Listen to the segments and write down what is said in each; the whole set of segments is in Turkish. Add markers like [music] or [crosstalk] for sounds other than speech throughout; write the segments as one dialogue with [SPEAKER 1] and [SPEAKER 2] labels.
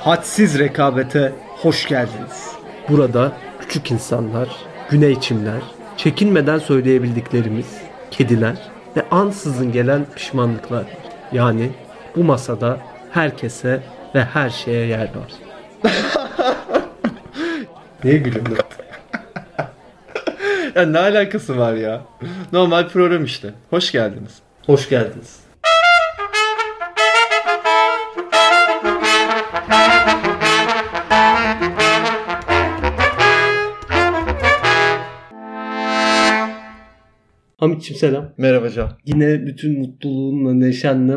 [SPEAKER 1] Hadsiz rekabete hoş geldiniz.
[SPEAKER 2] Burada küçük insanlar, güneyçimler, çekinmeden söyleyebildiklerimiz, kediler ve ansızın gelen pişmanlıklar. Yani bu masada herkese ve her şeye yer var.
[SPEAKER 1] [laughs] Niye gülüyorsun? [laughs] ya ne alakası var ya? Normal program işte. Hoş geldiniz.
[SPEAKER 2] Hoş geldiniz. Hamit'ciğim selam.
[SPEAKER 3] Merhaba Can.
[SPEAKER 2] Yine bütün mutluluğunla, neşenle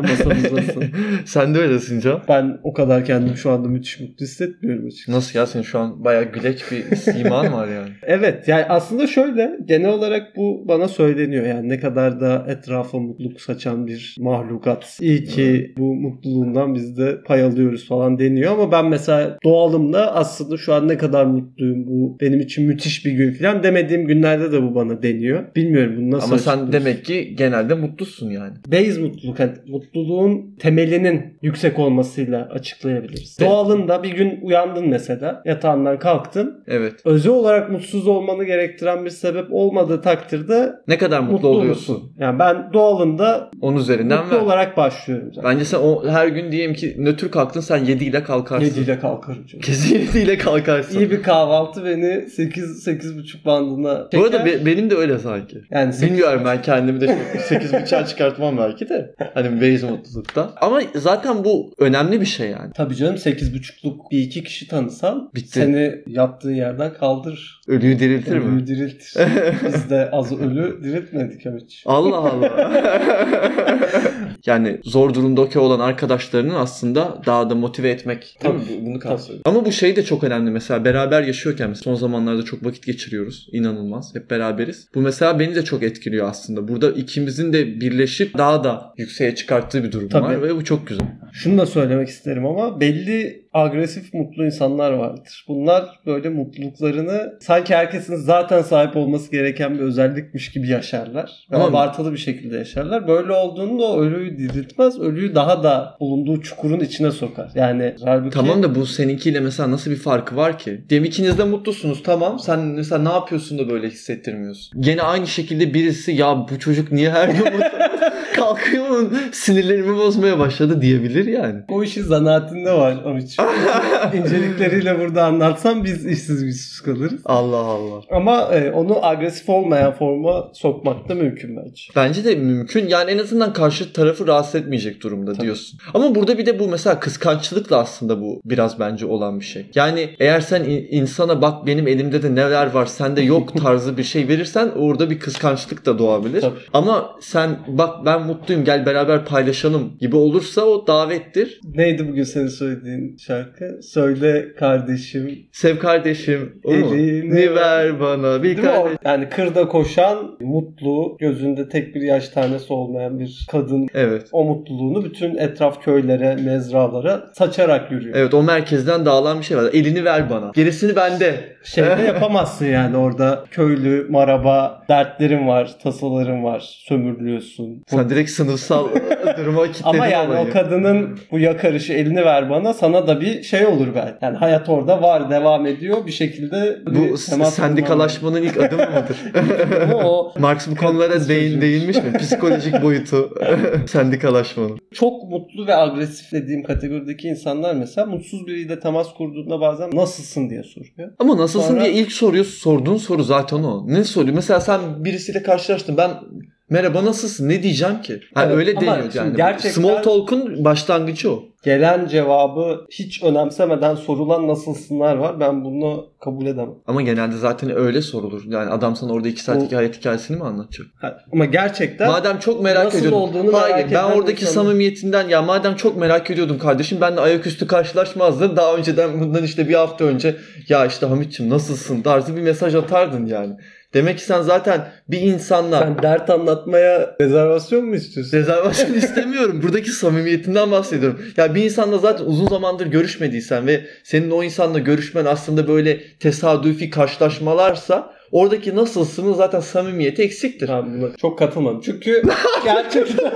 [SPEAKER 1] [laughs]
[SPEAKER 2] masamızdasın.
[SPEAKER 3] Sen de öylesin Can.
[SPEAKER 2] ben o kadar kendimi şu anda müthiş mutlu hissetmiyorum açıkçası.
[SPEAKER 3] Nasıl ya senin şu an bayağı gülek bir siman var yani.
[SPEAKER 2] Evet yani aslında şöyle genel olarak bu bana söyleniyor yani ne kadar da etrafa mutluluk saçan bir mahlukat. İyi ki bu mutluluğundan biz de pay alıyoruz falan deniyor ama ben mesela doğalımda aslında şu an ne kadar mutluyum bu benim için müthiş bir gün falan demediğim günlerde de bu bana deniyor. Bilmiyorum bunu [laughs] nasıl
[SPEAKER 3] Ama sen
[SPEAKER 2] açıklıyorsun?
[SPEAKER 3] demek ki genelde mutlusun yani.
[SPEAKER 2] Base mutluluk, yani mutluluğun temelinin yüksek olmasıyla açıklayabiliriz.
[SPEAKER 3] Evet.
[SPEAKER 2] Doğalında bir gün uyandın mesela, yatağından kalktın.
[SPEAKER 3] Evet.
[SPEAKER 2] Özel olarak mutsuz olmanı gerektiren bir sebep olmadığı takdirde
[SPEAKER 3] Ne kadar mutlu,
[SPEAKER 2] mutlu,
[SPEAKER 3] oluyorsun.
[SPEAKER 2] olursun. Yani ben doğalında
[SPEAKER 3] Onun üzerinden
[SPEAKER 2] mutlu
[SPEAKER 3] ver.
[SPEAKER 2] olarak başlıyorum zaten.
[SPEAKER 3] Bence sen o her gün diyelim ki nötr kalktın sen 7 ile kalkarsın.
[SPEAKER 2] 7
[SPEAKER 3] [laughs]
[SPEAKER 2] ile kalkarım. canım.
[SPEAKER 3] Kesin 7 ile kalkarsın.
[SPEAKER 2] İyi bir kahvaltı beni 8 8.30 bandına çeker.
[SPEAKER 3] Bu arada be- benim de öyle sanki.
[SPEAKER 2] yani sekiz-
[SPEAKER 3] Bilmiyorum ben kendimi de
[SPEAKER 2] [laughs]
[SPEAKER 3] 8.5'a çıkartmam belki de. Hani base mutlulukta. Ama zaten bu önemli bir şey yani.
[SPEAKER 2] Tabii canım 8.30'luk bir iki kişi tanısan
[SPEAKER 3] Bitti.
[SPEAKER 2] seni yattığın yerden kaldırır.
[SPEAKER 3] Ölüyü diriltir mi?
[SPEAKER 2] Ölüyü diriltir.
[SPEAKER 3] [laughs]
[SPEAKER 2] Biz de az ölü diriltmedik ama hiç.
[SPEAKER 3] Allah Allah. [laughs] yani zor durumdaki olan arkadaşlarının aslında daha da motive etmek. Değil mi?
[SPEAKER 2] Tabii,
[SPEAKER 3] Bu- Bunu
[SPEAKER 2] tabii.
[SPEAKER 3] kastediyorum. Ama bu şey de çok önemli mesela beraber yaşıyorken mesela son zamanlarda çok vakit geçiriyoruz. İnanılmaz. Hep beraberiz. Bu mesela beni de çok etkiliyor aslında. Burada ikimizin de birleşip daha da yükseğe çıkarttığı bir durum
[SPEAKER 2] Tabii.
[SPEAKER 3] var ve bu çok güzel.
[SPEAKER 2] Şunu da söylemek isterim ama belli agresif mutlu insanlar vardır. Bunlar böyle mutluluklarını sanki herkesin zaten sahip olması gereken bir özellikmiş gibi yaşarlar. Ve
[SPEAKER 3] Ama-
[SPEAKER 2] abartılı bir şekilde yaşarlar. Böyle olduğunda o ölüyü diriltmez. Ölüyü daha da bulunduğu çukurun içine sokar. Yani halbuki
[SPEAKER 3] Tamam da bu seninkiyle mesela nasıl bir farkı var ki? Diyelim ikiniz de mutlusunuz tamam. Sen mesela ne yapıyorsun da böyle hissettirmiyorsun? Gene aynı şekilde birisi ya bu [laughs] çocuk niye her gün mutlu? kalkıyor onun sinirlerimi bozmaya başladı diyebilir yani.
[SPEAKER 2] o işi zanaatinde var onun
[SPEAKER 3] [laughs]
[SPEAKER 2] için. İncelikleriyle burada anlatsam biz işsiz güçsüz kalırız.
[SPEAKER 3] Allah Allah.
[SPEAKER 2] Ama e, onu agresif olmayan forma sokmak da mümkün bence.
[SPEAKER 3] Bence de mümkün. Yani en azından karşı tarafı rahatsız etmeyecek durumda
[SPEAKER 2] Tabii.
[SPEAKER 3] diyorsun. Ama burada bir de bu mesela kıskançlıkla aslında bu biraz bence olan bir şey. Yani eğer sen in- insana bak benim elimde de neler var
[SPEAKER 2] [laughs]
[SPEAKER 3] sende yok tarzı bir şey verirsen orada bir kıskançlık da doğabilir.
[SPEAKER 2] Tabii.
[SPEAKER 3] Ama sen bak ben mutluyum gel beraber paylaşalım gibi olursa o davettir.
[SPEAKER 2] Neydi bugün senin söylediğin şarkı? Söyle kardeşim.
[SPEAKER 3] Sev kardeşim o mu?
[SPEAKER 2] Elini
[SPEAKER 3] Ne ver bana bir
[SPEAKER 2] Değil mi o?
[SPEAKER 3] kardeş.
[SPEAKER 2] Yani kırda koşan, mutlu, gözünde tek bir yaş tanesi olmayan bir kadın
[SPEAKER 3] Evet.
[SPEAKER 2] o mutluluğunu bütün etraf köylere, mezralara saçarak yürüyor.
[SPEAKER 3] Evet o merkezden dağılan bir şey var. Elini ver bana. Gerisini bende.
[SPEAKER 2] Şeyde Şey yapamazsın yani orada köylü, maraba, dertlerin var, tasaların var, sömürülüyorsun.
[SPEAKER 3] Sen
[SPEAKER 2] [laughs]
[SPEAKER 3] direkt sınıfsal duruma kilitledin
[SPEAKER 2] Ama yani
[SPEAKER 3] olayı. Hmm.
[SPEAKER 2] o kadının bu yakarışı elini ver bana sana da bir şey olur belki. Yani hayat orada var devam ediyor bir şekilde. bir
[SPEAKER 3] Bu s-
[SPEAKER 2] temas
[SPEAKER 3] sendikalaşmanın ilk adımı
[SPEAKER 2] [laughs]
[SPEAKER 3] mıdır?
[SPEAKER 2] kurman lazım. Ama o
[SPEAKER 3] Marx bu konulara
[SPEAKER 2] Kapitalizm
[SPEAKER 3] değin,
[SPEAKER 2] sözü.
[SPEAKER 3] değinmiş mi?
[SPEAKER 2] [laughs]
[SPEAKER 3] Psikolojik boyutu sendikalaşmanın.
[SPEAKER 2] çok mutlu ve agresif dediğim kategorideki insanlar mesela mutsuz biriyle temas kurduğunda bazen nasılsın diye soruyor.
[SPEAKER 3] Ama nasılsın
[SPEAKER 2] Sonra-
[SPEAKER 3] diye ilk soruyu sorduğun soru zaten o. Ne soruyor? Mesela sen birisiyle karşılaştın. Ben merhaba nasılsın? Ne diyeceğim ki? Ha,
[SPEAKER 2] Evet,
[SPEAKER 3] öyle
[SPEAKER 2] ama
[SPEAKER 3] deniyor
[SPEAKER 2] şimdi
[SPEAKER 3] yani.
[SPEAKER 2] gerçekten-
[SPEAKER 3] Small talk'un başlangıcı o.
[SPEAKER 2] Gelen cevabı hiç önemsemeden sorulan nasılsınlar var. Ben bunu kabul edemem.
[SPEAKER 3] Ama genelde zaten öyle sorulur. Yani adam sana orada iki saatlik
[SPEAKER 2] O-
[SPEAKER 3] hayat hikayesini mi anlatacak?
[SPEAKER 2] Ha, Ama gerçekten
[SPEAKER 3] Madem çok merak
[SPEAKER 2] Nasıl
[SPEAKER 3] ediyordum.
[SPEAKER 2] olduğunu merak
[SPEAKER 3] Hayır, ben
[SPEAKER 2] eden
[SPEAKER 3] oradaki
[SPEAKER 2] insanım.
[SPEAKER 3] samimiyetinden ya madem çok merak ediyordum kardeşim ben de ayaküstü karşılaşmazdın. Daha önceden bundan işte bir hafta önce ya işte Hamitçim nasılsın tarzı bir mesaj atardın yani. Demek ki sen zaten bir insanla
[SPEAKER 2] sen dert anlatmaya rezervasyon mu istiyorsun? [laughs]
[SPEAKER 3] rezervasyon istemiyorum. Buradaki samimiyetinden bahsediyorum. Ya bir insanla zaten uzun zamandır görüşmediysen ve senin o insanla görüşmen aslında böyle tesadüfi karşılaşmalarsa Oradaki nasılsının zaten samimiyeti eksiktir.
[SPEAKER 2] Ben buna çok katılmadım. Çünkü gerçekten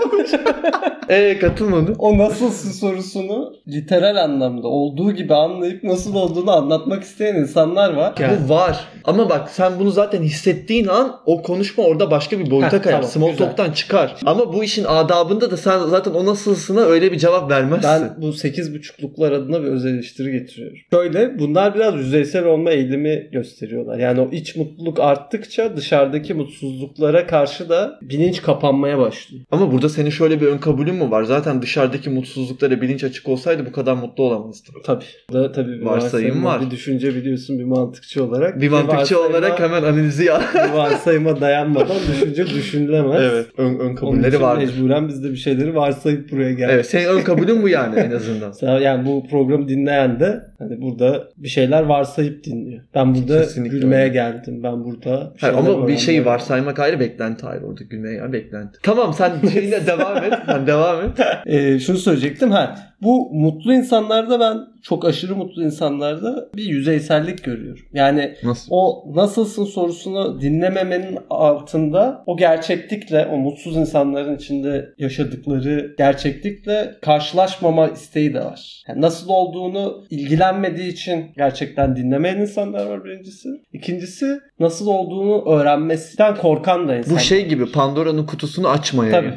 [SPEAKER 3] Eee Ee, katılmadın.
[SPEAKER 2] o nasılsın sorusunu literal anlamda olduğu gibi anlayıp nasıl olduğunu anlatmak isteyen insanlar var.
[SPEAKER 3] Bu var. Ama bak sen bunu zaten hissettiğin an o konuşma orada başka bir boyuta
[SPEAKER 2] Heh,
[SPEAKER 3] kayar.
[SPEAKER 2] tamam,
[SPEAKER 3] Small
[SPEAKER 2] güzel.
[SPEAKER 3] talk'tan çıkar. Ama bu işin adabında da sen zaten o nasılsına öyle bir cevap vermezsin.
[SPEAKER 2] Ben bu 8.5'luklar adına bir öz eleştiri getiriyorum. Şöyle bunlar biraz yüzeysel olma eğilimi gösteriyorlar. Yani o iç mutluluk arttıkça dışarıdaki mutsuzluklara karşı da bilinç kapanmaya başlıyor.
[SPEAKER 3] Ama burada senin şöyle bir ön kabulün mü var? Zaten dışarıdaki mutsuzluklara bilinç açık olsaydı bu kadar mutlu olamazdın.
[SPEAKER 2] Tabii. Bu Da tabii bir
[SPEAKER 3] Varsayım
[SPEAKER 2] varsayım
[SPEAKER 3] var.
[SPEAKER 2] Bir düşünce biliyorsun bir mantıkçı olarak.
[SPEAKER 3] Bir mantıkçı
[SPEAKER 2] varsayıma-
[SPEAKER 3] olarak hemen analizi yap.
[SPEAKER 2] [laughs] bir varsayıma dayanmadan düşünce düşünülemez.
[SPEAKER 3] Ön, ön
[SPEAKER 2] Onun için
[SPEAKER 3] kabulleri vardır.
[SPEAKER 2] mecburen biz de bir şeyleri varsayıp buraya geldik.
[SPEAKER 3] Evet senin ön kabulün bu yani
[SPEAKER 2] [laughs]
[SPEAKER 3] en azından.
[SPEAKER 2] Mesela Yani bu programı dinleyen de hani burada bir şeyler varsayıp dinliyor. Ben burada
[SPEAKER 3] Kesinlikle
[SPEAKER 2] gülmeye
[SPEAKER 3] öyle.
[SPEAKER 2] geldim. Ben burada
[SPEAKER 3] Hayır,
[SPEAKER 2] şeyler
[SPEAKER 3] ama bir şey şeyi
[SPEAKER 2] öğrenmeye-
[SPEAKER 3] varsaymak ayrı beklenti ayrı orada gülmeye ayrı beklenti. Tamam sen şeyine devam et. Sen devam et.
[SPEAKER 2] Ee, şunu söyleyecektim ha. Bu mutlu insanlarda ben çok aşırı mutlu insanlarda bir yüzeysellik görüyorum. Yani
[SPEAKER 3] Nasıl?
[SPEAKER 2] o nasılsın sorusunu dinlememenin altında o gerçeklikle o mutsuz insanların içinde yaşadıkları gerçeklikle karşılaşmama isteği de var. Yani nasıl olduğunu ilgilenmediği için gerçekten dinlemeyen insanlar var birincisi. İkincisi nasıl olduğunu öğrenmesinden korkan da
[SPEAKER 3] Bu
[SPEAKER 2] insanlar.
[SPEAKER 3] şey gibi Pandora'nın kutusunu açmaya.
[SPEAKER 2] Tabii.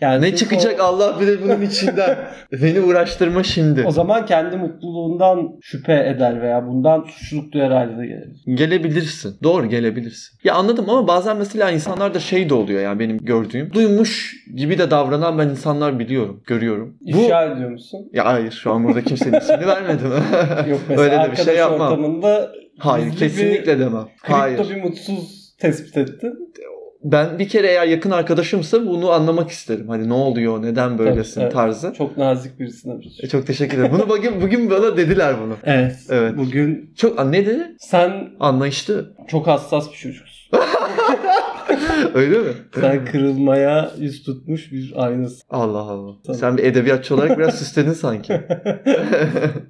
[SPEAKER 2] Yani
[SPEAKER 3] Ne
[SPEAKER 2] çünkü
[SPEAKER 3] çıkacak
[SPEAKER 2] o-
[SPEAKER 3] Allah bilir bunun
[SPEAKER 2] [laughs]
[SPEAKER 3] içinden. Beni uğraştırma şimdi.
[SPEAKER 2] O zaman kendi mutluluğundan şüphe eder veya bundan suçluluk duyar haline de gelir.
[SPEAKER 3] Gelebilirsin. Doğru gelebilirsin. Ya anladım ama bazen mesela insanlarda şey de oluyor ya benim gördüğüm. Duymuş gibi de davranan ben insanlar biliyorum. Görüyorum. Bu...
[SPEAKER 2] İfşa ediyor musun?
[SPEAKER 3] [laughs] Ya hayır şu an burada kimsenin
[SPEAKER 2] [laughs]
[SPEAKER 3] ismini vermedim.
[SPEAKER 2] Yok mesela
[SPEAKER 3] Öyle de bir
[SPEAKER 2] arkadaş
[SPEAKER 3] şey yapmam.
[SPEAKER 2] ortamında
[SPEAKER 3] Hayır
[SPEAKER 2] gizli
[SPEAKER 3] kesinlikle demem.
[SPEAKER 2] Kripto
[SPEAKER 3] Hayır.
[SPEAKER 2] bir mutsuz tespit ettin.
[SPEAKER 3] Ben bir kere eğer yakın arkadaşımsa bunu anlamak isterim. Hani ne oluyor, neden böylesin
[SPEAKER 2] evet.
[SPEAKER 3] tarzı.
[SPEAKER 2] Çok nazik birisine
[SPEAKER 3] E,
[SPEAKER 2] bir şey.
[SPEAKER 3] Çok teşekkür ederim. Bunu bugün bugün bana dediler bunu.
[SPEAKER 2] Evet.
[SPEAKER 3] Evet.
[SPEAKER 2] Bugün
[SPEAKER 3] Çok Aa, ne dedi?
[SPEAKER 2] sen [laughs]
[SPEAKER 3] Anlayışlı.
[SPEAKER 2] çok hassas bir çocuksun.
[SPEAKER 3] Öyle mi?
[SPEAKER 2] Sen kırılmaya yüz tutmuş bir aynasın.
[SPEAKER 3] Allah Allah.
[SPEAKER 2] Tabii.
[SPEAKER 3] Sen bir edebiyatçı olarak biraz süsledin sanki. [laughs]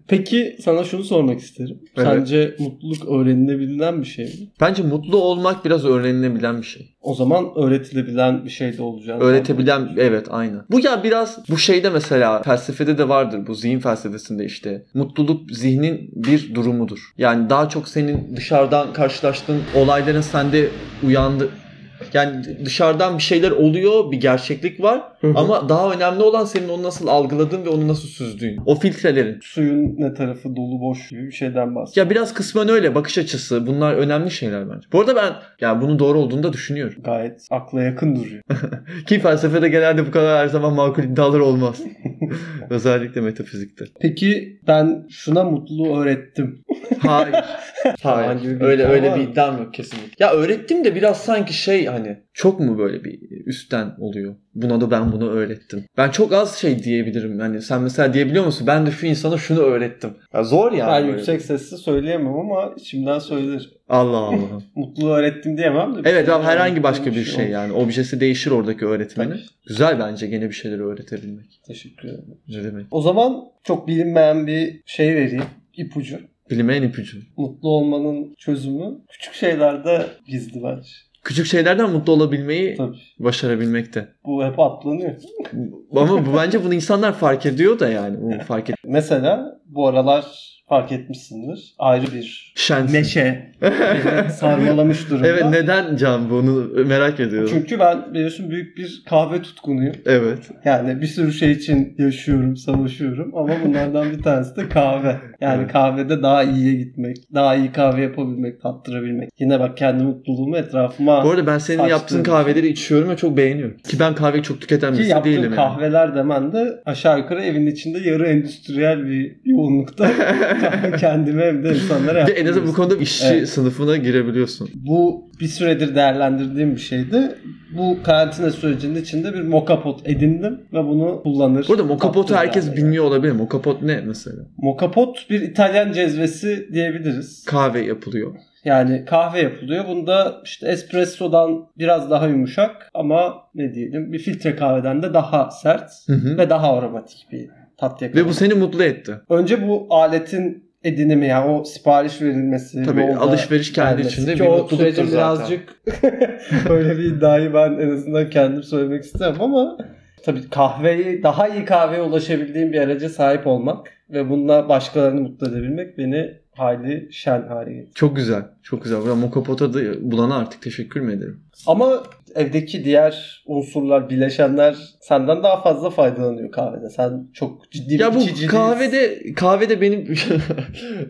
[SPEAKER 2] Peki sana şunu sormak isterim.
[SPEAKER 3] Evet.
[SPEAKER 2] Sence mutluluk öğrenilebilen bir şey mi?
[SPEAKER 3] Bence mutlu olmak biraz öğrenilebilen bir şey.
[SPEAKER 2] O zaman öğretilebilen bir şey de olacağını.
[SPEAKER 3] Öğretebilen evet aynı. Bu ya biraz bu şeyde mesela felsefede de vardır bu zihin felsefesinde işte. Mutluluk zihnin bir durumudur. Yani daha çok senin dışarıdan karşılaştığın olayların sende uyandı. Yani dışarıdan bir şeyler oluyor, bir gerçeklik var
[SPEAKER 2] Hı hı.
[SPEAKER 3] ama daha önemli olan senin onu nasıl algıladığın ve onu nasıl süzdüğün. O filtrelerin.
[SPEAKER 2] suyun ne tarafı dolu boş gibi bir şeyden bahsediyor.
[SPEAKER 3] Ya biraz kısmen öyle bakış açısı. Bunlar önemli şeyler bence. Bu arada ben ya bunun doğru olduğunu da düşünüyorum.
[SPEAKER 2] Gayet akla yakın duruyor.
[SPEAKER 3] Ki felsefede genelde bu kadar her zaman makul iddialar olmaz. Özellikle metafizikte.
[SPEAKER 2] Peki ben şuna mutluluğu öğrettim.
[SPEAKER 3] Hayır.
[SPEAKER 2] Falan gibi
[SPEAKER 3] Hayır.
[SPEAKER 2] bir
[SPEAKER 3] Öyle
[SPEAKER 2] iddia
[SPEAKER 3] öyle
[SPEAKER 2] var
[SPEAKER 3] bir
[SPEAKER 2] mı?
[SPEAKER 3] iddiam yok kesinlikle. Ya öğrettim de biraz sanki şey hani çok mu böyle bir üstten oluyor? Buna da ben bunu öğrettim. Ben çok az şey diyebilirim. Hani sen mesela diyebiliyor musun? Ben de şu insana şunu öğrettim. Ya zor yani.
[SPEAKER 2] ben
[SPEAKER 3] böyle.
[SPEAKER 2] yüksek sesle söyleyemem ama içimden söylerim.
[SPEAKER 3] Allah Allah.
[SPEAKER 2] Mutluluğu öğrettim diyemem de.
[SPEAKER 3] evet
[SPEAKER 2] Bir
[SPEAKER 3] abi herhangi
[SPEAKER 2] şey
[SPEAKER 3] başka bir
[SPEAKER 2] olmuş.
[SPEAKER 3] şey yani. Objesi değişir oradaki öğretmenin.
[SPEAKER 2] Tabii.
[SPEAKER 3] Güzel bence gene bir şeyleri öğretebilmek.
[SPEAKER 2] Teşekkür ederim.
[SPEAKER 3] Ne demek?
[SPEAKER 2] O zaman çok bilinmeyen bir şey vereyim. ipucu.
[SPEAKER 3] Bilmeyen ipucu.
[SPEAKER 2] Mutlu olmanın çözümü küçük şeylerde gizli bence.
[SPEAKER 3] Küçük şeylerden mutlu olabilmeyi
[SPEAKER 2] Tabii.
[SPEAKER 3] başarabilmekte.
[SPEAKER 2] Bu hep atlanıyor.
[SPEAKER 3] Ama bu, bence bunu insanlar fark ediyor da yani. Bunu fark et.
[SPEAKER 2] Mesela bu aralar fark etmişsindir. Ayrı bir
[SPEAKER 3] Şensin. [laughs]
[SPEAKER 2] neşe beni sarmalamış durumda.
[SPEAKER 3] Evet neden Can bunu merak ediyorum.
[SPEAKER 2] Çünkü ben biliyorsun büyük bir kahve tutkunuyum.
[SPEAKER 3] Evet.
[SPEAKER 2] Yani bir sürü şey için yaşıyorum, savaşıyorum ama bunlardan bir tanesi de kahve. Yani
[SPEAKER 3] Evet.
[SPEAKER 2] kahvede daha iyiye gitmek, daha iyi kahve yapabilmek, tattırabilmek. Yine bak kendi mutluluğumu etrafıma
[SPEAKER 3] Bu arada ben senin
[SPEAKER 2] Saçtı.
[SPEAKER 3] yaptığın kahveleri içiyorum ve çok beğeniyorum. Ki ben kahveyi çok tüketen
[SPEAKER 2] ki
[SPEAKER 3] birisi
[SPEAKER 2] yaptığım
[SPEAKER 3] değilim. yani.
[SPEAKER 2] kahveler demen de aşağı yukarı evin içinde yarı endüstriyel bir
[SPEAKER 3] [laughs]
[SPEAKER 2] yoğunlukta kendime hem de insanlara
[SPEAKER 3] Ve en azından bu
[SPEAKER 2] yaptırıyorum.
[SPEAKER 3] konuda işçi
[SPEAKER 2] Evet.
[SPEAKER 3] sınıfına girebiliyorsun.
[SPEAKER 2] Bu bir süredir değerlendirdiğim bir şeydi. Bu karantina sürecinin içinde bir mokapot edindim ve bunu kullanır.
[SPEAKER 3] Burada mokapotu
[SPEAKER 2] tattırır
[SPEAKER 3] herkes
[SPEAKER 2] yani.
[SPEAKER 3] bilmiyor olabilir. Mokapot ne mesela?
[SPEAKER 2] Mokapot bir İtalyan cezvesi diyebiliriz.
[SPEAKER 3] Kahve yapılıyor.
[SPEAKER 2] Yani kahve yapılıyor. Bunda işte espressodan biraz daha yumuşak ama ne diyelim bir filtre kahveden de daha sert
[SPEAKER 3] Hı hı.
[SPEAKER 2] ve daha aromatik bir tat
[SPEAKER 3] Ve bu
[SPEAKER 2] yakalamak.
[SPEAKER 3] seni mutlu etti.
[SPEAKER 2] Önce bu aletin edinimi yani o sipariş verilmesi.
[SPEAKER 3] Tabii
[SPEAKER 2] yolda
[SPEAKER 3] alışveriş kendi
[SPEAKER 2] gelmesi.
[SPEAKER 3] içinde
[SPEAKER 2] Ki
[SPEAKER 3] bir
[SPEAKER 2] o
[SPEAKER 3] mutluluktur
[SPEAKER 2] sürecin
[SPEAKER 3] zaten.
[SPEAKER 2] birazcık [laughs] böyle bir iddiayı ben en azından kendim söylemek isterim ama tabii kahveyi daha iyi kahveye ulaşabildiğim bir araca sahip olmak ve bununla başkalarını mutlu edebilmek beni hali şen hale getirdi.
[SPEAKER 3] Çok güzel. Çok güzel. Buradan Mokopota da bulana artık teşekkür mü ederim?
[SPEAKER 2] Ama evdeki diğer unsurlar, bileşenler senden daha fazla faydalanıyor kahvede. Sen çok ciddi
[SPEAKER 3] Ya
[SPEAKER 2] bir
[SPEAKER 3] bu
[SPEAKER 2] içici değilsin.
[SPEAKER 3] kahvede kahvede benim [laughs]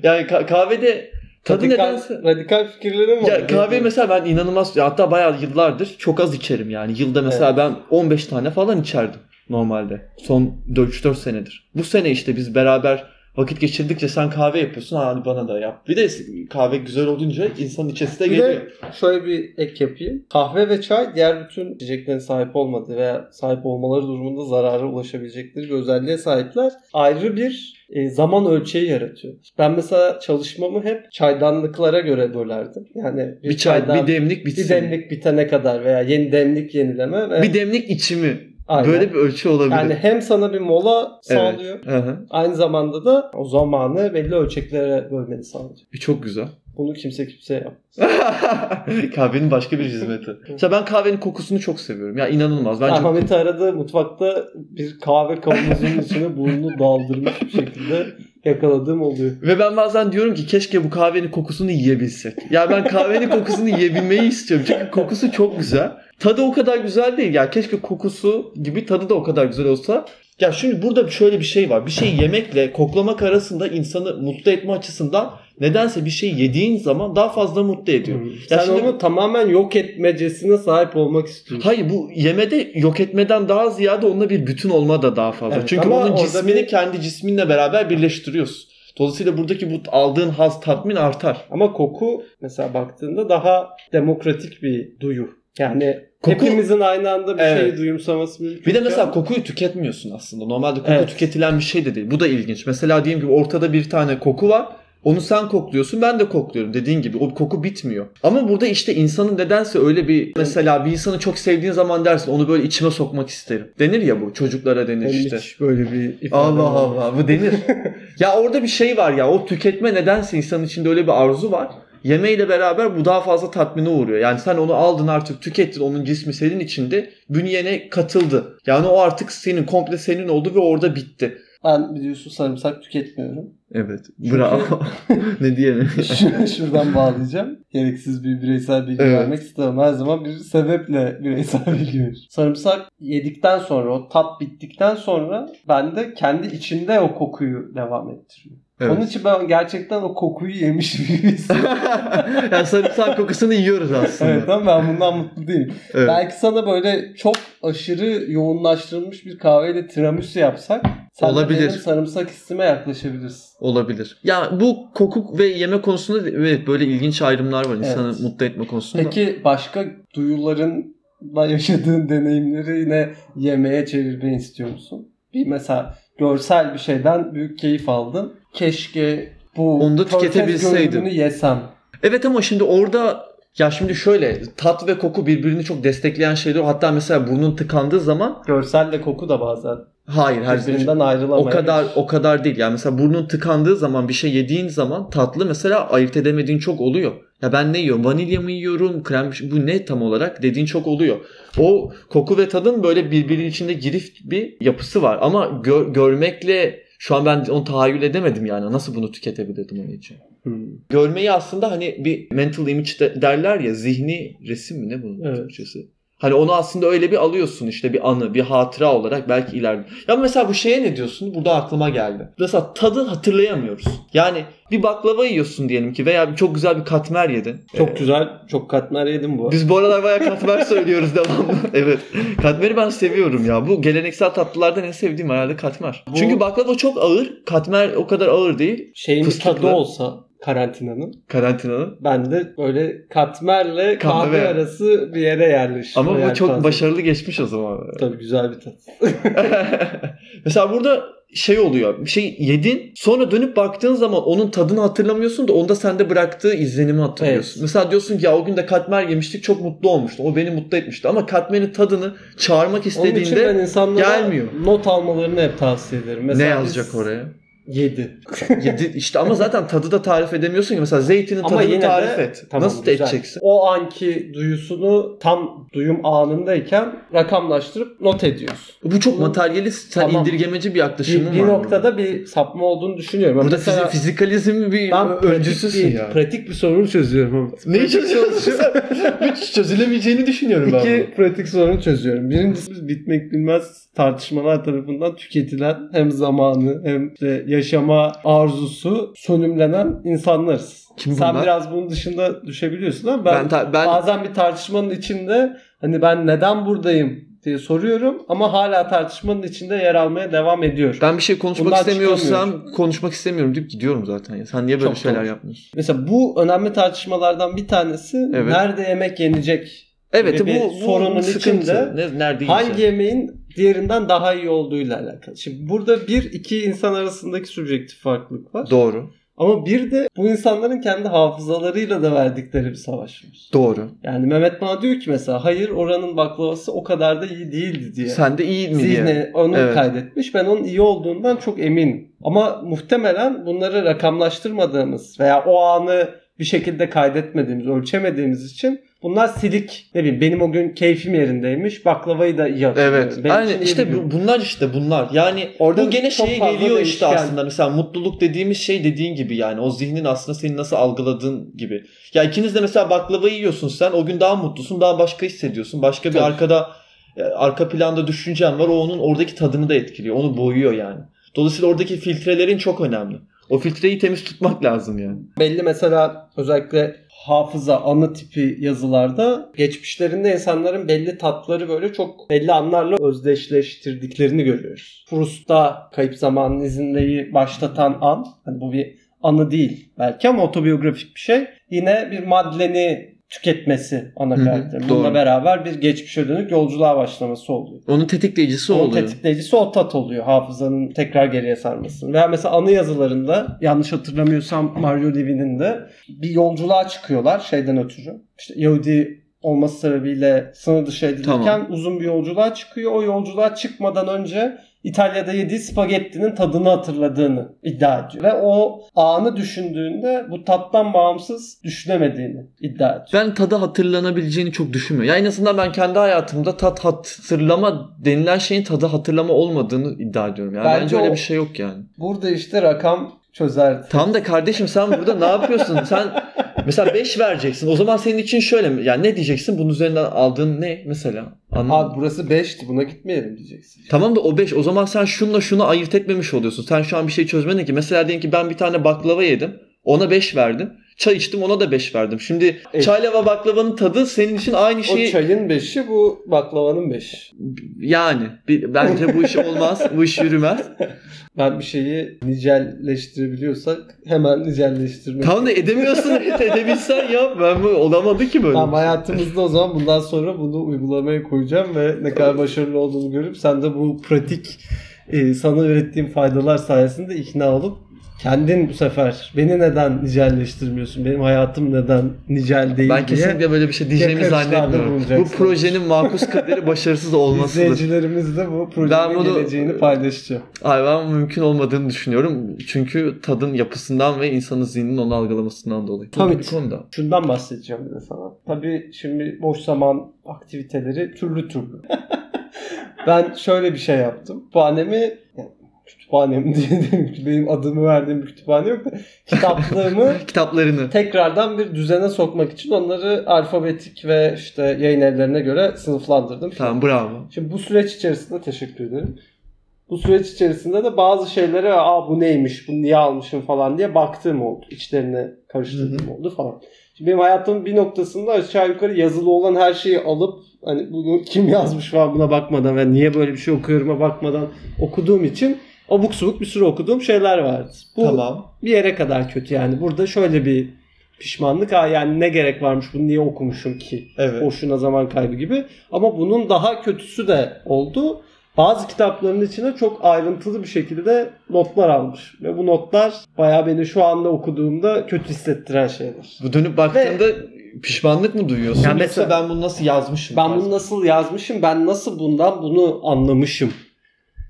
[SPEAKER 3] yani ka- kahvede tadı
[SPEAKER 2] radikal,
[SPEAKER 3] nedense
[SPEAKER 2] radikal fikirlerim var.
[SPEAKER 3] Ya kahve mesela ben inanılmaz ya hatta bayağı yıllardır çok az içerim yani. Yılda mesela ben 15 tane falan içerdim normalde. Son 3-4 senedir. Bu sene işte biz beraber vakit geçirdikçe sen kahve yapıyorsun. "Aa, Hadi bana da yap. Bir de kahve güzel olunca insanın içesi de
[SPEAKER 2] Bir
[SPEAKER 3] geliyor.
[SPEAKER 2] de şöyle bir ek yapayım. Kahve ve çay diğer bütün içeceklerin sahip olmadığı veya sahip olmaları durumunda zarara ulaşabilecekleri bir özelliğe sahipler. Ayrı bir e, zaman ölçeği yaratıyor. Ben mesela çalışmamı hep çaydanlıklara göre bölerdim. Yani
[SPEAKER 3] bir çay,
[SPEAKER 2] çaydan-
[SPEAKER 3] bir demlik bitsin.
[SPEAKER 2] bir demlik bitene kadar veya yeni demlik yenileme ve
[SPEAKER 3] Bir demlik içimi.
[SPEAKER 2] Aynen.
[SPEAKER 3] Böyle bir ölçü olabilir.
[SPEAKER 2] yani hem sana bir mola
[SPEAKER 3] Evet.
[SPEAKER 2] sağlıyor.
[SPEAKER 3] Hı hı.
[SPEAKER 2] Aynı zamanda da o zamanı belli ölçeklere bölmeni sağlıyor.
[SPEAKER 3] E, Çok güzel.
[SPEAKER 2] Bunu kimse kimseye yapmıyor.
[SPEAKER 3] [laughs] Kahvenin başka bir hizmeti. Mesela ben kahvenin kokusunu çok seviyorum. Ya inanılmaz. Ben çok-
[SPEAKER 2] Ahmet'i aradı mutfakta bir kahve kavanozunun
[SPEAKER 3] [laughs]
[SPEAKER 2] içine burnunu daldırmış bir şekilde yakaladığım oluyor.
[SPEAKER 3] Ve ben bazen diyorum ki keşke bu kahvenin kokusunu yiyebilsek. Ya ben kahvenin kokusunu yiyebilmeyi istiyorum. Çünkü kokusu çok güzel. Tadı o kadar güzel değil. Ya keşke kokusu gibi tadı da o kadar güzel olsa. Ya şimdi burada şöyle bir şey var. Bir şey yemekle koklamak arasında insanı mutlu etme açısından nedense bir şey yediğin zaman daha fazla mutlu ediyor.
[SPEAKER 2] Sen
[SPEAKER 3] şimdi-
[SPEAKER 2] onu tamamen yok etmecesine sahip olmak istiyorsun.
[SPEAKER 3] Hayır bu yemede yok etmeden daha ziyade onunla bir bütün olma da daha fazla.
[SPEAKER 2] Evet,
[SPEAKER 3] Çünkü
[SPEAKER 2] ama
[SPEAKER 3] onun
[SPEAKER 2] orada
[SPEAKER 3] cismini
[SPEAKER 2] bir-
[SPEAKER 3] kendi cisminle beraber birleştiriyorsun. Dolayısıyla buradaki bu aldığın haz tatmin artar.
[SPEAKER 2] Ama koku mesela baktığında daha demokratik bir duyu. Yani
[SPEAKER 3] Koku-
[SPEAKER 2] hepimizin aynı anda bir
[SPEAKER 3] Evet.
[SPEAKER 2] şeyi duyumsaması mümkün.
[SPEAKER 3] Bir de mesela kokuyu tüketmiyorsun aslında. Normalde koku
[SPEAKER 2] Evet.
[SPEAKER 3] tüketilen bir şey de değil. Bu da ilginç. Mesela diyelim gibi ortada bir tane koku var. Onu sen kokluyorsun ben de kokluyorum dediğin gibi. O koku bitmiyor. Ama burada işte insanın nedense öyle bir mesela bir insanı çok sevdiğin zaman dersin onu böyle içime sokmak isterim. Denir ya bu çocuklara denir
[SPEAKER 2] Benim
[SPEAKER 3] işte.
[SPEAKER 2] hiç böyle bir ifade
[SPEAKER 3] Allah
[SPEAKER 2] olmadı.
[SPEAKER 3] Allah bu denir. ya orada bir şey var ya o tüketme nedense insanın içinde öyle bir arzu var. Yemeğiyle beraber bu daha fazla tatmine uğruyor. Yani sen onu aldın artık tükettin onun cismi senin içinde bünyene katıldı. Yani o artık senin komple senin oldu ve orada bitti.
[SPEAKER 2] Ben biliyorsun sarımsak tüketmiyorum.
[SPEAKER 3] Evet bravo. [laughs] ne diyelim.
[SPEAKER 2] Şur- Şuradan bağlayacağım. Gereksiz bir bireysel bilgi
[SPEAKER 3] Evet.
[SPEAKER 2] vermek istemem. Her zaman bir sebeple bireysel [laughs] bilgi verir. Sarımsak yedikten sonra o tat bittikten sonra bende kendi içinde o kokuyu devam ettiriyor.
[SPEAKER 3] Evet.
[SPEAKER 2] Onun için ben gerçekten o kokuyu yemiş gibi hissediyorum.
[SPEAKER 3] [laughs] yani sarımsak kokusunu yiyoruz aslında.
[SPEAKER 2] evet ama ben bundan mutlu değilim.
[SPEAKER 3] Evet.
[SPEAKER 2] Belki sana böyle çok aşırı yoğunlaştırılmış bir kahveyle tiramisu yapsak sen de
[SPEAKER 3] Olabilir.
[SPEAKER 2] benim sarımsak hissime yaklaşabilirsin.
[SPEAKER 3] Olabilir. Ya bu koku ve yeme konusunda evet, böyle ilginç ayrımlar var insanı
[SPEAKER 2] Evet.
[SPEAKER 3] mutlu etme konusunda.
[SPEAKER 2] Peki başka duyuların yaşadığın deneyimleri yine yemeğe çevirmeyi istiyor musun? Bir mesela görsel bir şeyden büyük keyif aldın. Keşke bu
[SPEAKER 3] Onu da
[SPEAKER 2] körfez
[SPEAKER 3] tüketebilseydim.
[SPEAKER 2] görünümünü yesem.
[SPEAKER 3] Evet ama şimdi orada ya şimdi şöyle tat ve koku birbirini çok destekleyen şeyler. Hatta mesela burnun tıkandığı zaman
[SPEAKER 2] Görselle koku da bazen
[SPEAKER 3] hayır her şey
[SPEAKER 2] birbirinden
[SPEAKER 3] o
[SPEAKER 2] ayrılamayız.
[SPEAKER 3] kadar o kadar değil. Yani mesela burnun tıkandığı zaman bir şey yediğin zaman tatlı mesela ayırt edemediğin çok oluyor. Ya ben ne yiyorum? Vanilya mı yiyorum? Krem bu ne tam olarak dediğin çok oluyor. O koku ve tadın böyle birbirinin içinde girift bir yapısı var. Ama gör- görmekle şu an ben onu tahayyül edemedim yani. Nasıl bunu tüketebilirdim onun için?
[SPEAKER 2] Hmm.
[SPEAKER 3] Görmeyi aslında hani bir mental image de- derler ya zihni resim mi ne bunun
[SPEAKER 2] Evet.
[SPEAKER 3] Türkçesi? Hani onu aslında öyle bir alıyorsun işte bir anı, bir hatıra olarak belki ileride. Ya mesela bu şeye ne diyorsun? Burada aklıma geldi. Mesela tadı hatırlayamıyoruz. Yani bir baklava yiyorsun diyelim ki veya çok güzel bir katmer yedin.
[SPEAKER 2] Çok
[SPEAKER 3] Ee,
[SPEAKER 2] güzel, çok katmer yedim bu. arada.
[SPEAKER 3] biz bu aralar bayağı katmer [laughs] söylüyoruz devamlı. Evet. Katmeri ben seviyorum ya. Bu geleneksel tatlılardan en sevdiğim herhalde katmer.
[SPEAKER 2] Bu-
[SPEAKER 3] Çünkü baklava çok ağır. Katmer o kadar ağır değil.
[SPEAKER 2] Şeyin bir tadı
[SPEAKER 3] fıstıklı.
[SPEAKER 2] olsa karantinanın
[SPEAKER 3] Karantinanın.
[SPEAKER 2] ben de böyle katmerle kahve,
[SPEAKER 3] Kahve.
[SPEAKER 2] arası bir yere yerleştim.
[SPEAKER 3] Ama bu
[SPEAKER 2] Yani
[SPEAKER 3] çok
[SPEAKER 2] fazla-
[SPEAKER 3] başarılı geçmiş o zaman.
[SPEAKER 2] Tabii güzel bir tat.
[SPEAKER 3] [laughs] Mesela burada şey oluyor. Bir şey yedin sonra dönüp baktığın zaman onun tadını hatırlamıyorsun da onda sende bıraktığı izlenimi hatırlıyorsun.
[SPEAKER 2] Evet.
[SPEAKER 3] Mesela diyorsun ki ya o gün de katmer yemiştik çok mutlu olmuştu. O beni mutlu etmişti ama katmerin tadını çağırmak
[SPEAKER 2] Onun için ben
[SPEAKER 3] istediğinde
[SPEAKER 2] insanlara
[SPEAKER 3] gelmiyor.
[SPEAKER 2] not almalarını hep tavsiye ederim. Mesela
[SPEAKER 3] ne yazacak
[SPEAKER 2] biz
[SPEAKER 3] oraya?
[SPEAKER 2] Yedi.
[SPEAKER 3] Yedi, işte ama zaten tadı da tarif edemiyorsun ki. Mesela zeytinin
[SPEAKER 2] Ama
[SPEAKER 3] tadını
[SPEAKER 2] yine de-
[SPEAKER 3] tarif et.
[SPEAKER 2] Tamam,
[SPEAKER 3] Nasıl da
[SPEAKER 2] güzel.
[SPEAKER 3] edeceksin?
[SPEAKER 2] O anki duyusunu tam duyum anındayken rakamlaştırıp not ediyorsun.
[SPEAKER 3] Bu çok materyalist, sen
[SPEAKER 2] Tamam.
[SPEAKER 3] indirgemeci bir
[SPEAKER 2] Bir,
[SPEAKER 3] yaklaşımın var.
[SPEAKER 2] bir
[SPEAKER 3] burada.
[SPEAKER 2] noktada bir sapma olduğunu düşünüyorum.
[SPEAKER 3] Burada
[SPEAKER 2] Mesela
[SPEAKER 3] fizi- fizikalizmin bir
[SPEAKER 2] ben
[SPEAKER 3] öncüsüsün
[SPEAKER 2] pratik bir,
[SPEAKER 3] ya.
[SPEAKER 2] pratik bir sorunu çözüyorum. Ahmet.
[SPEAKER 1] Ne için
[SPEAKER 2] [laughs]
[SPEAKER 1] çalışıyorsun? [laughs] Hiç çözülemeyeceğini düşünüyorum ben.
[SPEAKER 2] İki pratik sorunu çözüyorum. Birincisi bitmek bilmez tartışmalar tarafından tüketilen hem zamanı hem de yaşama arzusu sönümlenen insanlarız.
[SPEAKER 3] Kim
[SPEAKER 2] Sen
[SPEAKER 3] bunlar?
[SPEAKER 2] biraz bunun dışında düşebiliyorsun ama ben,
[SPEAKER 3] Ben, ta- ben
[SPEAKER 2] bazen bir tartışmanın içinde hani ben neden buradayım diye soruyorum ama hala tartışmanın içinde yer almaya devam ediyorum.
[SPEAKER 3] ben bir şey konuşmak
[SPEAKER 2] Bundan
[SPEAKER 3] istemiyorsam
[SPEAKER 2] çıkamıyorum.
[SPEAKER 3] konuşmak istemiyorum deyip gidiyorum zaten. ya. Sen niye böyle
[SPEAKER 2] Çok
[SPEAKER 3] şeyler
[SPEAKER 2] doğru.
[SPEAKER 3] yapmıyorsun?
[SPEAKER 2] Mesela bu önemli tartışmalardan bir tanesi
[SPEAKER 3] Evet.
[SPEAKER 2] nerede yemek yenecek
[SPEAKER 3] Evet
[SPEAKER 2] Gibi bir
[SPEAKER 3] bu, bu
[SPEAKER 2] sorunun
[SPEAKER 3] sıkıntı.
[SPEAKER 2] içinde
[SPEAKER 3] Ne- nerede
[SPEAKER 2] Hangi
[SPEAKER 3] yiyeceğim?
[SPEAKER 2] yemeğin diğerinden daha iyi olduğuyla alakalı. Şimdi burada bir iki insan arasındaki subjektif farklılık var.
[SPEAKER 3] Doğru.
[SPEAKER 2] Ama bir de bu insanların kendi hafızalarıyla da verdikleri bir savaş var.
[SPEAKER 3] Doğru.
[SPEAKER 2] Yani Mehmet bana diyor ki mesela hayır oranın baklavası o kadar da iyi değildi diye.
[SPEAKER 3] Sen de iyi mi diye.
[SPEAKER 2] Zihne onu
[SPEAKER 3] Evet.
[SPEAKER 2] kaydetmiş. Ben onun iyi olduğundan çok eminim. Ama muhtemelen bunları rakamlaştırmadığımız veya o anı bir şekilde kaydetmediğimiz, ölçemediğimiz için bunlar silik. Ne bileyim benim o gün keyfim yerindeymiş. Baklavayı da iyi hatırlıyorum.
[SPEAKER 3] Evet. şey
[SPEAKER 2] Benim için
[SPEAKER 3] Aynen
[SPEAKER 2] iyi bir
[SPEAKER 3] Hani işte
[SPEAKER 2] gün.
[SPEAKER 3] bu- bunlar işte bunlar. Yani
[SPEAKER 2] Orada
[SPEAKER 3] bu gene
[SPEAKER 2] çok
[SPEAKER 3] şeye
[SPEAKER 2] fazla
[SPEAKER 3] geliyor işte
[SPEAKER 2] değişken.
[SPEAKER 3] aslında. Mesela mutluluk dediğimiz şey dediğin gibi yani o zihnin aslında senin nasıl algıladığın gibi. Ya ikiniz de mesela baklava yiyorsun sen o gün daha mutlusun, daha başka hissediyorsun. Başka bir
[SPEAKER 2] Tabii.
[SPEAKER 3] arkada e, arka planda düşüncen var. O onun oradaki tadını da etkiliyor. Onu boyuyor yani. Dolayısıyla oradaki filtrelerin çok önemli. O filtreyi temiz tutmak lazım yani.
[SPEAKER 2] Belli mesela özellikle hafıza, anı tipi yazılarda geçmişlerinde insanların belli tatları böyle çok belli anlarla özdeşleştirdiklerini görüyoruz. Proust'ta Kayıp Zamanın İzinde'yi başlatan an, hani bu bir anı değil belki ama otobiyografik bir şey. Yine bir Madeleine'i tüketmesi ana
[SPEAKER 3] Hı hı,
[SPEAKER 2] karakter.
[SPEAKER 3] doğru.
[SPEAKER 2] Bununla beraber bir geçmişe dönük yolculuğa başlaması oluyor.
[SPEAKER 3] Onun tetikleyicisi
[SPEAKER 2] Onun
[SPEAKER 3] oluyor.
[SPEAKER 2] tetikleyicisi o tat oluyor hafızanın tekrar geriye sarmasını. Veya mesela anı yazılarında yanlış hatırlamıyorsam Mario Levy'nin de bir yolculuğa çıkıyorlar şeyden ötürü. İşte Yahudi olması sebebiyle sınır dışı edilirken
[SPEAKER 3] Tamam.
[SPEAKER 2] uzun bir yolculuğa çıkıyor. O yolculuğa çıkmadan önce İtalya'da yediği spagettinin tadını hatırladığını iddia ediyor. Ve o anı düşündüğünde bu tattan bağımsız düşünemediğini iddia ediyor.
[SPEAKER 3] Ben tadı hatırlanabileceğini çok düşünmüyorum. Yani en azından ben kendi hayatımda tat hatırlama denilen şeyin tadı hatırlama olmadığını iddia ediyorum. Yani bence,
[SPEAKER 2] Bence
[SPEAKER 3] öyle
[SPEAKER 2] o-
[SPEAKER 3] bir şey yok yani.
[SPEAKER 2] Burada işte rakam çözerdi.
[SPEAKER 3] Tamam da kardeşim sen burada ne yapıyorsun? Sen mesela 5 vereceksin. O zaman senin için şöyle mi? Yani ne diyeceksin? Bunun üzerinden aldığın ne mesela? Anlamadım.
[SPEAKER 2] Abi burası 5'ti buna gitmeyelim diyeceksin.
[SPEAKER 3] Tamam da o 5 o zaman sen şunla şunu ayırt etmemiş oluyorsun. Sen şu an bir şey çözmedin ki. Mesela diyelim ki ben bir tane baklava yedim. Ona 5 verdim. Çay içtim ona da 5 verdim. Şimdi
[SPEAKER 2] Evet.
[SPEAKER 3] çayla ve baklavanın tadı senin için aynı şey
[SPEAKER 2] O
[SPEAKER 3] şeyi
[SPEAKER 2] çayın beşi bu baklavanın beşi.
[SPEAKER 3] Yani bir- bence bu iş olmaz, bu iş yürümez.
[SPEAKER 2] Ben bir şeyi nicelleştirebiliyorsak hemen nicelleştirmek.
[SPEAKER 3] Tam da edemiyorsun, [laughs] edebilsen yap. Ben bu olamadı ki böyle.
[SPEAKER 2] Tamam, hayatımızda o zaman bundan sonra bunu uygulamaya koyacağım ve ne kadar başarılı olduğunu görüp sen de bu pratik e, sana ürettiğim faydalar sayesinde ikna olup kendin bu sefer beni neden nicelleştirmiyorsun? Benim hayatım neden nicel değil
[SPEAKER 3] ben
[SPEAKER 2] diye
[SPEAKER 3] kesinlikle böyle bir şey diyeceğimi
[SPEAKER 2] yakarışlarda
[SPEAKER 3] zannetmiyorum. Bu
[SPEAKER 2] bulunacaksın.
[SPEAKER 3] projenin makus kaderi başarısız olmasıdır.
[SPEAKER 2] izleyicilerimiz de bu
[SPEAKER 3] Ben
[SPEAKER 2] projenin
[SPEAKER 3] bunu-
[SPEAKER 2] geleceğini paylaşacağım.
[SPEAKER 3] Ay ben mümkün olmadığını düşünüyorum. Çünkü tadın yapısından ve insanın zihninin onu algılamasından dolayı. Bu
[SPEAKER 2] Tabii.
[SPEAKER 3] bir konuda.
[SPEAKER 2] Şundan bahsedeceğim bir de sana. Tabii şimdi boş zaman aktiviteleri türlü türlü. ben şöyle bir şey yaptım. Kütüphanemi yani kütüphanem [laughs] diye dedim ki benim adımı verdiğim bir kütüphane yok da
[SPEAKER 3] [laughs]
[SPEAKER 2] kitaplığımı
[SPEAKER 3] Kitaplarını.
[SPEAKER 2] tekrardan bir düzene sokmak için onları alfabetik ve işte yayın evlerine göre sınıflandırdım.
[SPEAKER 3] Tamam bravo.
[SPEAKER 2] Şimdi bu süreç içerisinde teşekkür ederim. Bu süreç içerisinde de bazı şeylere aa bu neymiş, bunu niye almışım falan diye baktığım oldu. İçlerine karıştırdığım oldu falan. Şimdi benim hayatımın bir noktasında aşağı yukarı yazılı olan her şeyi alıp hani bunu kim yazmış falan buna bakmadan ve niye böyle bir şey okuyorum'a bakmadan okuduğum için abuk subuk bir sürü okuduğum şeyler vardı. Bu
[SPEAKER 3] Tamam.
[SPEAKER 2] bir yere kadar kötü yani. Burada şöyle bir pişmanlık aa yani ne gerek varmış bunu niye okumuşum ki
[SPEAKER 3] Evet.
[SPEAKER 2] boşuna zaman kaybı gibi. Ama bunun daha kötüsü de oldu. Bazı kitapların içine çok ayrıntılı bir şekilde notlar almış. Ve bu notlar bayağı beni şu anda okuduğumda kötü hissettiren şeyler.
[SPEAKER 3] Bu dönüp baktığında pişmanlık mı duyuyorsun?
[SPEAKER 2] Yani
[SPEAKER 3] Yoksa
[SPEAKER 2] mesela-
[SPEAKER 3] ben bunu nasıl yazmışım?
[SPEAKER 2] Ben bunu nasıl yazmışım, ben nasıl bundan bunu anlamışım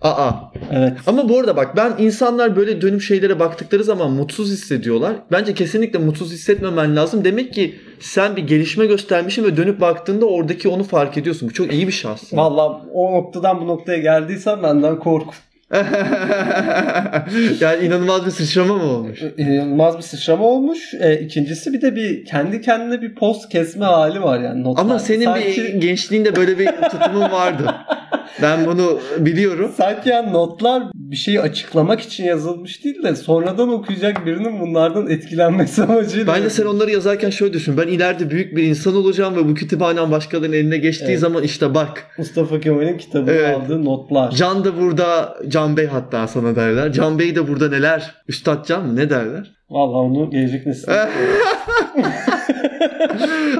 [SPEAKER 3] Aa.
[SPEAKER 2] Evet.
[SPEAKER 3] Ama bu arada bak ben insanlar böyle dönüp şeylere baktıkları zaman mutsuz hissediyorlar. Bence kesinlikle mutsuz hissetmemen lazım. Demek ki sen bir gelişme göstermişsin ve dönüp baktığında oradaki onu fark ediyorsun. Bu çok iyi bir şey aslında.
[SPEAKER 2] Valla o noktadan bu noktaya geldiysen benden kork.
[SPEAKER 3] [laughs] yani inanılmaz bir sıçrama mı olmuş?
[SPEAKER 2] İnanılmaz E, bir sıçrama olmuş. E, ikincisi bir de bir kendi kendine bir post kesme hali var yani. notlarda.
[SPEAKER 3] Ama senin bir
[SPEAKER 2] sanki,
[SPEAKER 3] gençliğinde böyle bir tutumun vardı. Ben bunu biliyorum.
[SPEAKER 2] sanki yani notlar bir şeyi açıklamak için yazılmış değil de sonradan okuyacak birinin bunlardan etkilenmesi [laughs] amacıyla.
[SPEAKER 3] Bence sen onları yazarken şöyle düşün. Ben ileride büyük bir insan olacağım ve bu kütüphanem başkalarının eline geçtiği
[SPEAKER 2] Evet.
[SPEAKER 3] zaman işte bak
[SPEAKER 2] Mustafa Kemal'in kitabını
[SPEAKER 3] Evet.
[SPEAKER 2] aldığı notlar.
[SPEAKER 3] Can da burada, Can Bey hatta sana derler. Can Bey de burada neler? Üstad Can mı? Ne derler? [laughs]
[SPEAKER 2] Valla onu gelecek nesil.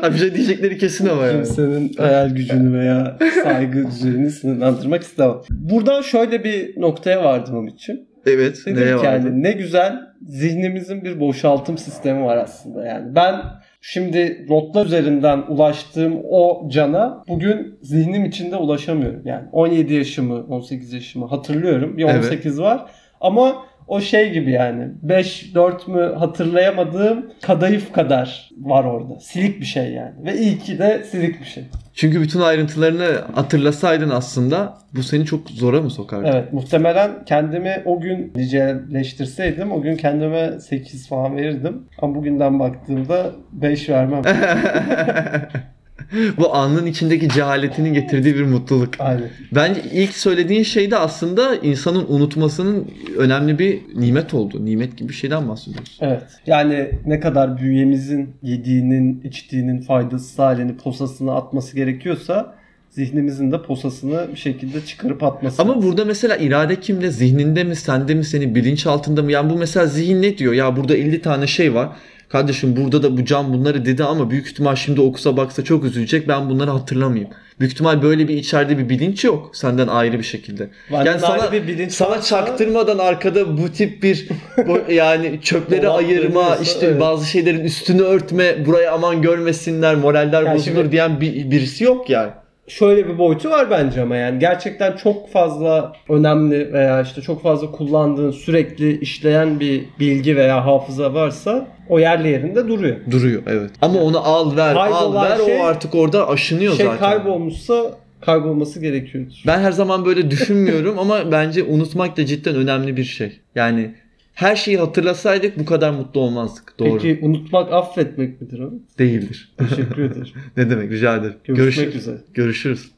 [SPEAKER 3] Abi bir şey diyecekleri kesin ama yani.
[SPEAKER 2] Kimsenin hayal gücünü
[SPEAKER 3] [laughs]
[SPEAKER 2] veya saygı düzeyini sınırlandırmak istemem. Buradan şöyle bir noktaya vardım Ümit'ciğim.
[SPEAKER 3] Evet.
[SPEAKER 2] Dedim ki
[SPEAKER 3] Nereye vardı?
[SPEAKER 2] yani ne güzel zihnimizin bir boşaltım sistemi var aslında yani. Ben şimdi notlar üzerinden ulaştığım o cana bugün zihnim içinde ulaşamıyorum. Yani 17 yaşımı, 18 yaşımı hatırlıyorum. Bir
[SPEAKER 3] Evet.
[SPEAKER 2] 18 var ama o şey gibi yani 5 4 mü hatırlayamadığım kadayıf kadar var orada. Silik bir şey yani. Ve iyi ki de silik bir şey.
[SPEAKER 3] Çünkü bütün ayrıntılarını hatırlasaydın aslında bu seni çok zora mı sokardı?
[SPEAKER 2] Evet muhtemelen kendimi o gün niceleştirseydim o gün kendime 8 falan verirdim. Ama bugünden baktığımda 5
[SPEAKER 3] [laughs]
[SPEAKER 2] vermem.
[SPEAKER 3] [laughs] bu anın içindeki cehaletinin getirdiği bir mutluluk.
[SPEAKER 2] Aynen.
[SPEAKER 3] Bence ilk söylediğin şey de aslında insanın unutmasının önemli bir nimet oldu. Nimet gibi bir şeyden bahsediyorsun.
[SPEAKER 2] Evet. Yani ne kadar bünyemizin yediğinin, içtiğinin faydasız halini posasını atması gerekiyorsa zihnimizin de posasını bir şekilde çıkarıp atması.
[SPEAKER 3] Ama
[SPEAKER 2] lazım.
[SPEAKER 3] burada mesela irade kimde? Zihninde mi, sende mi, senin bilinçaltında mı? Yani bu mesela zihin ne diyor? Ya burada 50 tane şey var. Kardeşim burada da bu can bunları dedi ama büyük ihtimal şimdi okusa baksa çok üzülecek. Ben bunları hatırlamayayım. Büyük ihtimal böyle bir içeride bir bilinç yok senden ayrı bir şekilde.
[SPEAKER 2] Benden
[SPEAKER 3] yani sana-
[SPEAKER 2] ayrı bir bilinç
[SPEAKER 3] Sana
[SPEAKER 2] varsa-
[SPEAKER 3] çaktırmadan arkada bu
[SPEAKER 2] [laughs]
[SPEAKER 3] tip bir bu- yani çöpleri
[SPEAKER 2] Dolap
[SPEAKER 3] ayırma,
[SPEAKER 2] dönüyorsa,
[SPEAKER 3] işte
[SPEAKER 2] evet.
[SPEAKER 3] bazı şeylerin üstünü örtme, buraya aman görmesinler, moraller
[SPEAKER 2] Yani
[SPEAKER 3] bozulur
[SPEAKER 2] şimdi-
[SPEAKER 3] diyen bir, birisi yok yani.
[SPEAKER 2] şöyle bir boyutu var bence ama yani gerçekten çok fazla önemli veya işte çok fazla kullandığın sürekli işleyen bir bilgi veya hafıza varsa o yerli yerinde duruyor.
[SPEAKER 3] Duruyor evet. Ama onu al ver
[SPEAKER 2] Kaybolan
[SPEAKER 3] al ver
[SPEAKER 2] şey-
[SPEAKER 3] o artık orada aşınıyor
[SPEAKER 2] şey
[SPEAKER 3] zaten.
[SPEAKER 2] kaybolmuşsa kaybolması gerekiyordur.
[SPEAKER 3] Ben her zaman böyle düşünmüyorum ama bence unutmak da cidden önemli bir şey. Yani her şeyi hatırlasaydık bu kadar mutlu olmazdık. Doğru.
[SPEAKER 2] Peki unutmak affetmek midir o?
[SPEAKER 3] Değildir. [laughs]
[SPEAKER 2] Teşekkür [laughs] ederim.
[SPEAKER 3] Ne demek rica ederim.
[SPEAKER 2] Görüşmek
[SPEAKER 3] Görüşürüz.
[SPEAKER 2] üzere.
[SPEAKER 3] Görüşürüz.